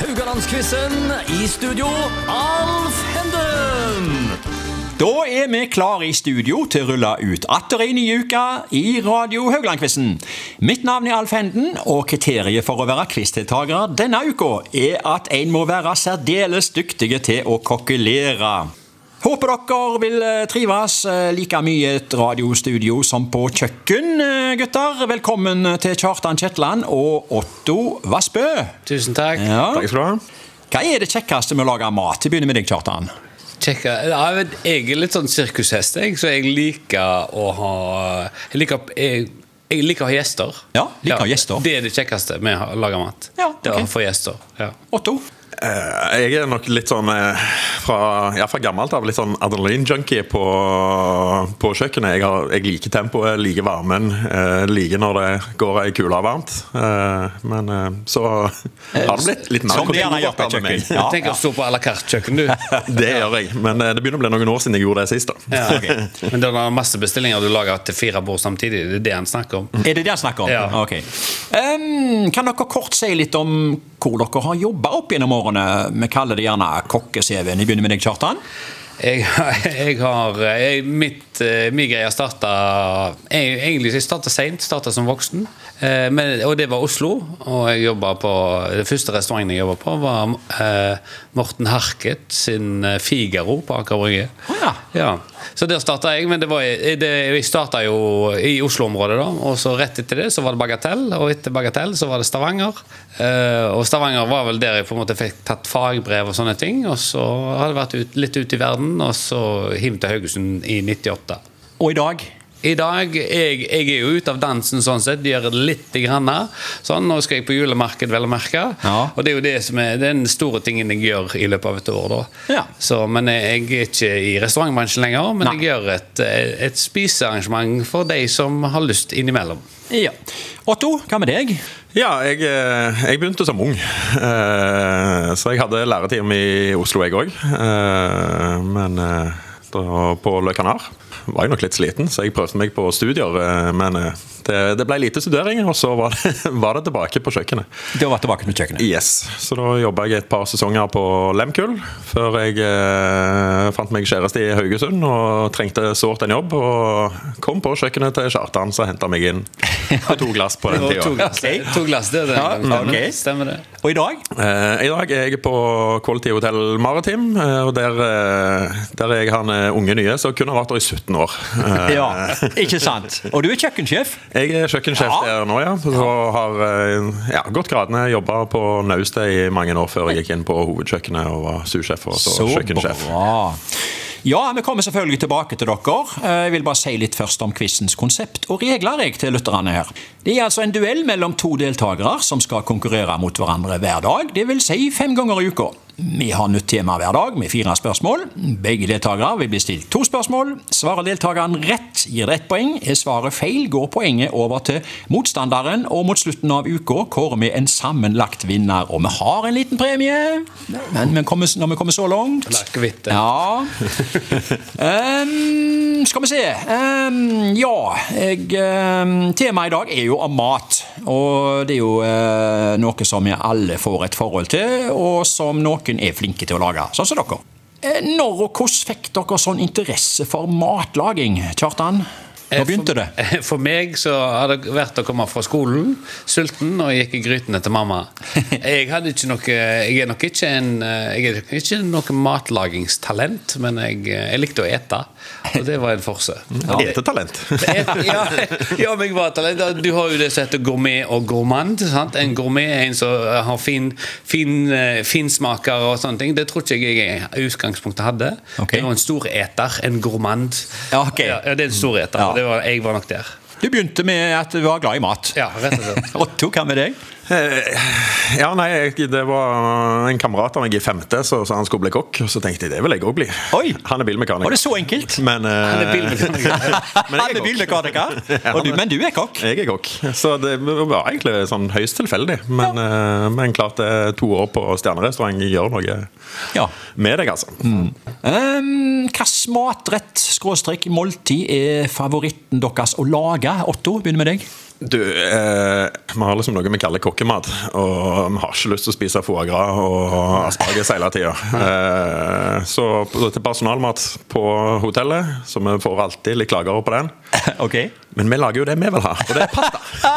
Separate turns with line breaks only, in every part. Haugalandsquizen. I studio, Alf Henden.
Da er vi klare i studio til å rulle ut atter en ny uke i Radio Haugland-quizen. Mitt navn er Alf Henden, og kriteriet for å være quizdeltaker denne uka er at en må være særdeles dyktige til å kokkelere. Håper dere vil eh, trives eh, like mye i et radiostudio som på kjøkken, eh, gutter. Velkommen til Kjartan Kjetland og Otto Vassbø.
Tusen takk.
Ja.
Takk skal du ha.
Hva er det kjekkeste med å lage mat? Jeg begynner med deg, Kjartan.
Tjekka. Ja, men jeg er litt sånn sirkushest, jeg, så jeg liker å ha Jeg liker, jeg, jeg liker å ha gjester.
Ja, liker å ha gjester.
Det er det kjekkeste med å lage mat.
Ja,
Det er
ok.
å få gjester. Ja.
Otto?
Eh, Jeg er nok litt sånn eh, fra, ja, fra gammelt av litt sånn adrenalin-junkie på, på kjøkkenet. Jeg, har, jeg liker tempoet, liker varmen, eh, liker når det går ei kule varmt. Eh, men eh, så har det blitt litt mer
Som det gjerne gjør på
kontrollert med meg.
kjøkken. Ja,
du tenker
Ah, ja.
å stå på à la carte-kjøkken, du.
Det gjør jeg, men eh, det begynner å bli noen år siden jeg gjorde det sist. da
Ja. Men det er masse bestillinger du lager til fire bord samtidig. Det er det han snakker om.
Er det det han snakker om?
Ja.
Ok. Ehm, kan dere kort si litt om hvor dere har jobba opp gjennom årene? Vi kaller det gjerne kokke-CV-en. Jeg begynner med deg, Kjartan.
Jeg, jeg har jeg, mitt, eh, Min greie starta jeg, Egentlig jeg starta seint, starta som voksen. Eh, men, og det var Oslo. Og jeg jobba på Den første restauranten jeg jobba på, var eh, Morten Harket sin eh, Figaro på Aker Brygge.
Å ja.
Så der starta jeg. Men det var, i- det, jeg starta jo i Oslo-området, da. Og så rett etter det så var det Bagatell, og etter Bagatell så var det Stavanger. Eh, og Stavanger var vel der jeg på en måte fikk tatt fagbrev og sånne ting. Og så har det vært ut, litt ute i verden, og så him til Haugesund i 98.
Og i dag
I dag, jeg, jeg er jo ute av dansen sånn sett, gjør det litt grann her. Sånn, nå skal jeg på julemarked, vel å merke.
Ja.
Og det er jo det som er den store tingen jeg gjør i løpet av et år, da.
Ja.
Så, men jeg er ikke i restaurantbransjen lenger, men
Nei.
jeg gjør et, et spisearrangement for de som har lyst innimellom.
ja. Otto, hva med deg?
Ja, jeg, eh, jeg begynte som ung. Eh, Så jeg hadde læretime i Oslo, jeg òg. Men eh, da på Le Canard var jeg nok litt sliten, så jeg prøvde meg på studier. eh, Men eh, det, det ble lite studering, og så var det, var det tilbake på kjøkkenet.
Det var tilbake til kjøkkenet.
Yes, Så da jobba jeg et par sesonger på Lemkull før jeg eh, fant meg kjæreste i Haugesund og trengte sårt en jobb. Og kom på kjøkkenet til Kjartan, som henta meg inn på to glass på den
Og to
tida.
glass,
Ok.
to glass det, er det
Ja,
stemmer,
ok.
stemmer det.
Og i dag?
Eh, I dag er jeg på Quality Hotel Maritim, eh, og der, eh, der er jeg han eh, unge nye som kun har vært der i 17 år. Eh,
Ja, ikke sant? Og du er kjøkkensjef.
Jeg er kjøkkensjef
Ja. der
der nå, ja. Og har eh, ja, gått gradene, jobba på naustet i mange år før jeg gikk inn på hovedkjøkkenet og var sursjef og så, kjøkkensjef.
bra. Ja, vi kommer selvfølgelig tilbake til dere. Eh, Jeg vil bare si litt først om quizens konsept og regler jeg til lytterne her. Det er altså en duell mellom to deltakere som skal konkurrere mot hverandre hver dag, dvs. Si fem ganger i uka. Vi har nytt tema hver dag med fire spørsmål. Begge deltakere vil bli stilt to spørsmål. Svarer deltakeren rett, gir det ett poeng. Er svaret feil, går poenget over til motstanderen. Og mot slutten av uka kårer vi en sammenlagt vinner. Og vi har en liten premie. Men vi kommer, når vi kommer så langt
Lakkevitte.
Ja. Ehm, skal vi se. Ehm, ja, jeg, ehm, temaet i dag er jo om mat. Og det er jo eh, noe som vi alle får et forhold til, og som noen er flinke til å lage. Sånn som dere. Eh, Når og hvordan fikk dere sånn interesse for matlaging, Kjartan? Når begynte det?
Eh, For, for meg så har det vært å komme fra skolen sulten, og jeg gikk i grytene til mamma. Jeg, hadde ikke noe, jeg er nok ikke, en, eh, jeg er nok ikke noe matlagingstalent, men jeg, eh, jeg likte å ete, og det var en forse.
Ja. Etetalent.
Et- Ja, ja, men jeg var talent. Du har jo det som heter gourmet og gourmand. Sant? En gourmet er en som eh, har fin, fin, eh, finsmaker og sånne ting. Det tror ikke jeg jeg i utgangspunktet hadde.
Ok.
Jeg var en storeter, en gourmand.
Ja, ok.
ja, det er en storeter.
Ja.
og Det var, jeg var nok der.
Du begynte med at du var glad i mat.
Ja, rett og slett.
Otto, hva med deg?
Eh, Ja, nei, jeg- det var en kamerat av meg i femte så sa han skulle bli kokk. Og så tenkte jeg det vil jeg òg bli.
Oi!
Han er bilmekaniker.
Var det så enkelt?
Men, eh,
er bilmekaniker.
men
Han er
jeg er kokk.
bilmekaniker, og du- men du er kokk.
Jeg er kokk, så det var egentlig sånn høyst tilfeldig. Men, eh, men klart det er to år på stjernerestaurant gjør noe
Ja.
med deg, altså.
Mm. Um, Hvilken matrett skråstrek måltid er favoritten deres å lage? Otto, begynner med deg.
Du, eh, vi har liksom noe vi kaller kokkemat, og vi har ikke lyst til å spise foie gras og asparges hele tida. Eh, så på- til personalmat på hotellet, så vi får alltid litt klager på den.
ok.
Men vi lager jo det vi vil ha, og det er pasta.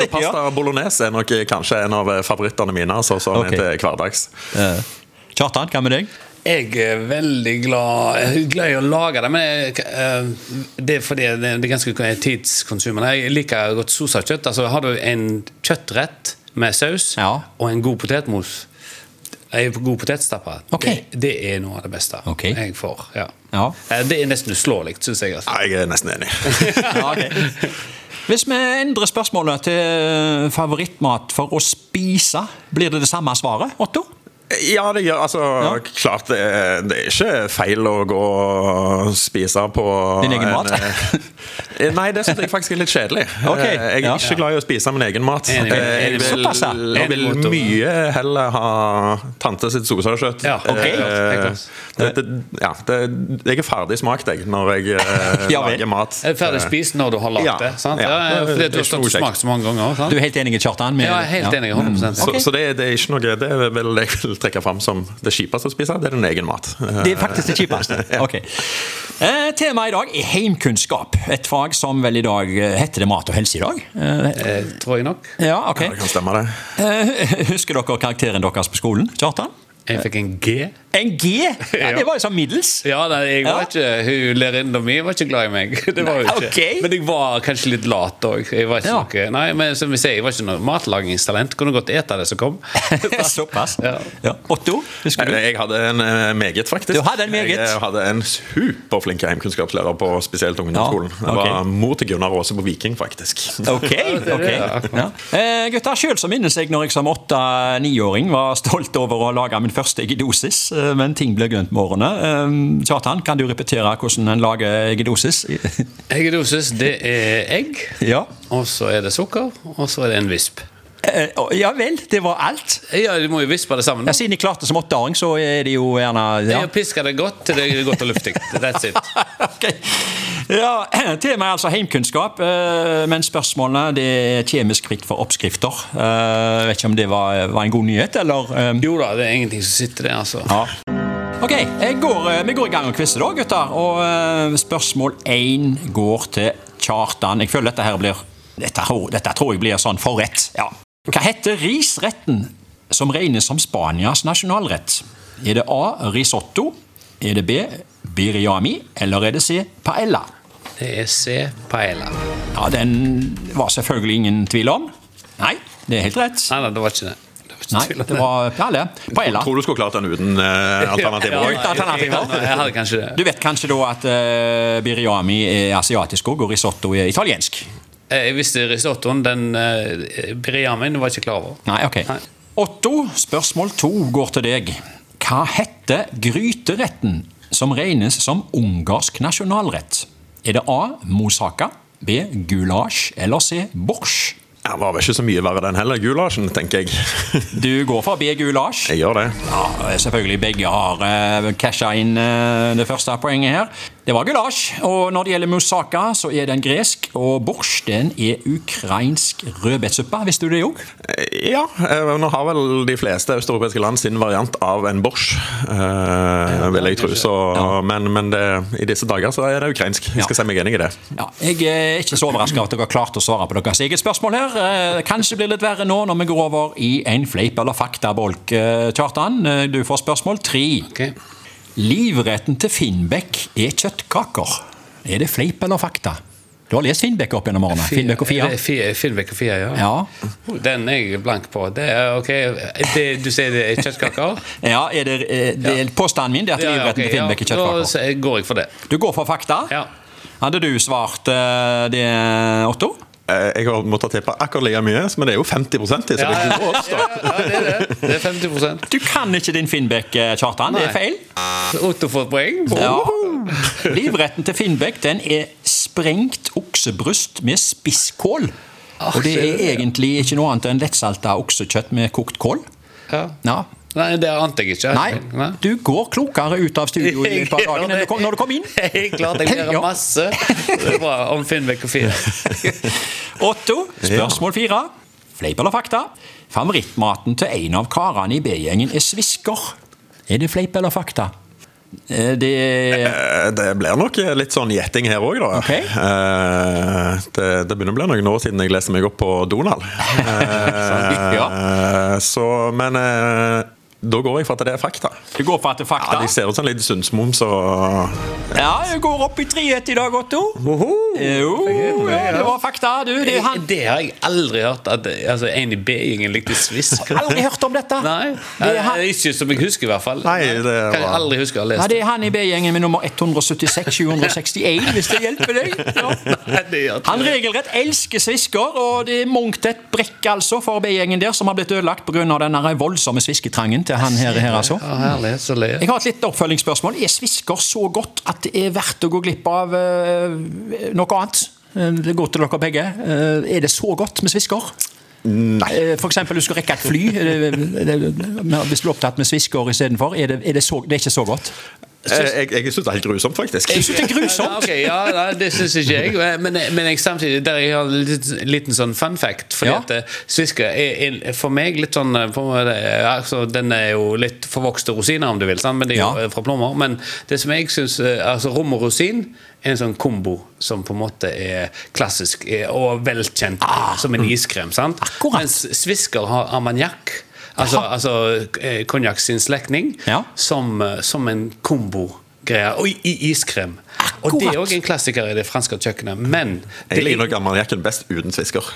Så pasta bolognese er nok kanskje en av favorittene mine. Altså, sånn
Ok.
til hverdags.
Ja. Eh, Kjartan, hva med deg?
Jeg er veldig glad Jeg er glad i å lage det, men jeg, eh, det er fordi det det er ganske tidskonsumende. Jeg liker godt sosa kjøtt. Altså, har du en kjøttrett med saus
Ja.
og en god potetmos Jeg er på god potetstappe.
Ok.
Det, det er noe av det beste
Ok.
jeg får. Ja.
Ja.
Eh, Det er nesten uslåelig, syns jeg. Altså.
Ja, jeg er nesten enig.
Ja, ok. Hvis vi endrer spørsmålet til eh, favorittmat for å spise, blir det det samme svaret, Otto?
Ja, det gjør altså Klart det er, det er ikke feil å gå og spise på
Din egen mat?
eh, Nei, det syns jeg faktisk er litt kjedelig.
Ok,
Eh, Jeg er
ja.
ikke glad i å spise min egen mat.
Enig med-
Eh,
enig
Jeg
med-
vil,
Såpass, ja.
jeg
Enig
vil
med Otto.
mye heller ha tante sitt sosakjøtt.
Ja, ok.
Eh,
Helt klart.
det, det, ja, det, jeg er ferdig smakt, jeg, når jeg eh,
Ja vel.
lager mat.
Er du ferdig spist når du har lagd
Ja.
det? Sant?
Ja.
Ja, ja, fordi
Det
du
er
har stått og
stor
smakt så mange ganger. Sant?
Du er helt enig, Kjartan? med-
ja, jeg er helt enig. 100
Så,
Ok.
så det, det er ikke noe Det er vel jeg vil trekke fram som det kjipeste å spise. Det er din egen mat. Eh,
Det er faktisk det kjipeste. Ok. Eh, temaet i dag er heimkunnskap. Et fag som vel i dag eh, heter det mat og helse i dag. Eh,
Eh, tror jeg nok.
ja, ok.
Det kan stemme, det.
Eh, husker dere karakteren deres på skolen, Kjartan?
Jeg fikk en G.
En G! Ja, det var jo sånn middels.
Ja, nei, jeg var
Ja.
ikke, Hun lærerinna mi var ikke glad i meg. Det var hun ikke.
ok.
Men jeg var kanskje litt lat òg. Jeg, var ikke
Ja.
noe- nei, men som vi sier, jeg var ikke noe matlagingstalent. Kunne godt ete det som kom.
Såpass.
Ja.
Ja. Otto, husker du?
Nei, Jeg hadde en eh, meget, faktisk.
Du hadde en meget.
Jeg eh, hadde en superflink heimkunnskapslærer på spesielt ungdomsskolen.
Ja, ok.
Det var mor til Gunnar Aase på Viking, faktisk.
Ok,
det er
ok.
det, ja.
Ja. Eh, gutter, selv så minnes jeg når jeg som åtte-niåring var stolt over å lage min første eggedosis, eh, men ting ble glemt med årene. Eh, Kjartan, kan du repetere hvordan en lager eggedosis?
Eggedosis, det er egg.
ja.
Og så er det sukker, og så er det en visp.
Eh, å, ja vel, det var alt.
Ja, Du må jo vispe det sammen.
Ja,
da.
siden jeg klarte det som åtteåring, så er det jo gjerne ja.
Jeg pisker det godt til det er godt og luftig. That's it.
Ok. Ja, Temaet er altså heimkunnskap, eh, men spørsmålene det er kjemisk fritt for oppskrifter. Eh, Vet ikke om det var, var en god nyhet, eller? eh,
Jo da, det er ingenting som sitter der, altså.
Ja. Ok, jeg går, eh, vi går i gang med quizet da, gutter. Og eh, spørsmål én går til Kjartan. Jeg føler dette her blir Dette, ho- dette tror jeg blir sånn forrett. Ja. Hva heter risretten som regnes som Spanias nasjonalrett? Er det A. Risotto? Er det B. Biriami? Eller er det C. Paella?
Det er C. Paella.
Ja, Den var selvfølgelig ingen tvil om. Nei, det er helt rett.
Nei, nei, det var ikke det. det, var ikke
Nei,
tvil om
det var Paella. Paella.
Tror du skulle klart den uten eh, alternativer?
Ja,
også?
Uten alternativer.
jeg- jeg- Jeg hadde kanskje det.
Du vet kanskje da at eh, biriami er asiatisk også, og risotto er italiensk?
Eh, Jeg visste risottoen, den eh, Briamin var jeg ikke klar over.
Nei, ok.
Nei.
Otto, spørsmål to går til deg. Hva heter gryteretten som regnes som ungarsk nasjonalrett? Er det A. moussaka, B. gulasj eller C. borsj?
Ja, Det var vel ikke så mye verre den heller, gulasjen, tenker jeg.
Du går for B. gulasj.
Jeg gjør det.
Ja, selvfølgelig begge har uh, casha inn eh, det første poenget her. Det var gulasj. Og når det gjelder moussaka, så er den gresk. Og borsj, den er ukrainsk rødbetsuppe. Visste du det òg?
Eh, Ja, eh, nå har vel de fleste østeuropeiske land sin variant av en borsj, eh, vil jeg tro. Så, men men det, i disse dager så er det ukrainsk. Jeg
Ja.
skal si meg enig i det.
Ja, jeg eh, er ikke så overraska at dere har klart å svare på deres eget spørsmål her. Eh, Kanskje blir det litt verre nå når vi går over i en fleip- eller faktabolk. Eh, Kjartan, eh, du får spørsmål tre.
Ok.
Livretten til Finnbekk er kjøttkaker. Er det fleip eller fakta? Du har lest Finnbekk opp gjennom årene. Finnbekk og Fia.
Det er Fia- Finnbekk og Fia, ja.
Ja.
Den er jeg blank på. Det er, ok, det, du sier det er kjøttkaker?
Ja, er det, eh, det er påstanden min det er at livretten
ok,
til Finnbekk er
Da
kjøttkaker.
sier- eh, går jeg for det.
Du går for fakta?
Ja.
Hadde du svart eh, det, Otto?
Eh, Jeg har måttet tippe akkurat like mye, men det er jo 50 til, så det er gode odds, da.
Ja, det er det. Det er 50
Du kan ikke din Finnbekk, eh, Kjartan. Det
Nei.
er feil.
Otto får et poeng.
Ja. Livretten til Finnbekk den er sprengt oksebryst med spisskål.
Ah,
Og det er egentlig ikke noe annet enn lettsalta oksekjøtt med kokt kål.
Ja.
Ja.
Nei, det ante jeg ikke.
Nei, du går klokere ut av studio i et par dager enn du kom, når du kom inn.
Jeg er klart jeg lærer
Ja.
masse. Det er bra om Finnbekk og Fia.
Otto, spørsmål fire. Fleip eller fakta? Favorittmaten til en av karene i B-gjengen er svisker. Er det fleip eller fakta? Eh, Det er
Eh, Det blir nok litt sånn gjetting her òg, da.
Ok.
Eh, Det, det begynner å bli noen år siden jeg leste meg opp på Donald.
Sånn,
Eh, Så, men eh, da går jeg for at det er fakta.
Du går for at det er
Ja,
fakta?
De ser ut som en liten sundsmoms og
Ja, du går opp i 3-1 i dag, Otto. Jo, ja, det var fakta, du. Det er han.
Det har jeg aldri hørt. At altså, en i B-gjengen likte svisk.
Aldri hørt om dette.
Nei,
Det er han.
Eh, ikke som jeg husker, i hvert fall.
Nei, det var-
Kan jeg aldri huske å ha
Ja,
lest.
det er han i B-gjengen med nummer 176-761, hvis det hjelper deg. Ja.
Nei, det gjør ikke
Han
det.
regelrett elsker svisker, og det er mangt et brekk altså for B-gjengen der, som har blitt ødelagt pga. den her voldsomme svisketrangen til han her, her altså.
Ja, herlig, så løy jeg.
Jeg har et litt oppfølgingsspørsmål. Er svisker så godt at det er verdt å gå glipp av eh, noe annet? Eh, Det går til dere begge. Eh, er det så godt med svisker?
Nei.
Eh, For eksempel, du skal rekke et fly. eh, eh, Hvis du er opptatt med svisker istedenfor, er, det, er det, så, det er ikke så godt?
Jeg, eh, jeg, jeg syns det er helt grusomt, faktisk.
Jeg synes det er grusomt.
Ja, ok, ja, nei, det syns ikke jeg. Eh, Men, men jeg, samtidig der jeg har en liten, liten sånn fun fact. Fordi
Ja.
at eh, svisker er, er for meg litt sånn eh, for meg, eh, altså, Den er jo litt forvokste rosiner, om du vil. Sant? Men det er jo
Ja.
eh, fra plommer. Men det som jeg syns altså, Rom og rosin er en sånn kombo som på en måte er klassisk eh, og velkjent som en iskrem. Sant?
Ah. Akkurat.
Mens svisker har ammoniakk. Altså, altså eh, konjakk sin slektning
Ja.
som, eh, som en kombo-greie. Og i, i iskrem. Og det er
Akkurat.
òg en klassiker i det franske kjøkkenet. Men
Jeg liker
det
nok ammoniakken best uten svisker.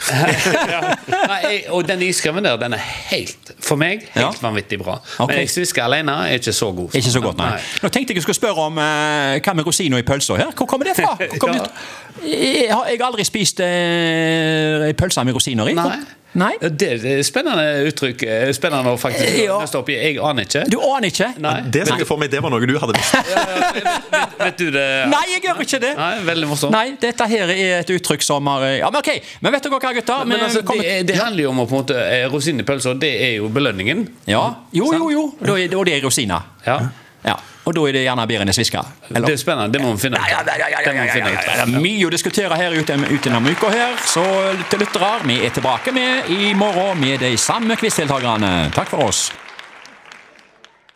Nei, jeg- Og den iskremen der, den er helt, for meg, helt
Ja.
vanvittig bra.
Ok.
Men jeg svisker alene er ikke så god.
Ikke så godt, nei. Nå tenkte jeg jeg skulle spørre om eh, hva med rosiner i pølser her? Hvor kommer det fra? Hvor kom
Ja.
det- Jeg har jeg har aldri spist eh, pølser med rosiner i.
Nei.
Nei?
Det det er spennende uttrykk. eh, Spennende å faktisk
Ja.
nøste opp i. Jeg aner ikke.
Du aner ikke?
Nei.
Det som jeg for meg, det var noe du hadde visst.
Vet, vet du det?
Nei, jeg gjør ikke det!
Nei, veldig morsomt.
Nei, dette her er et uttrykk som har eh, Ja, men ok, men eh, vet dere hva, gutter?
Men
Vi
altså,
kommer-
det, det handler jo om å på en måte eh, Rosinen i pølsa, det er jo belønningen.
ja. Jo, jo, jo. Da er, og det er rosiner.
Ja.
Ja. Og da er det gjerne bedre enn svisker. eller?
Det er spennende. Det må vi finne
Ja, ja,
ut
ja, ja, ja,
Det må
ja,
vi
ja,
finne
ja,
ut.
ja. Det er Mye å diskutere her ute utenom uka her, så til lyttere, vi er tilbake med i morgen med de samme quizdeltakerne. Takk for oss.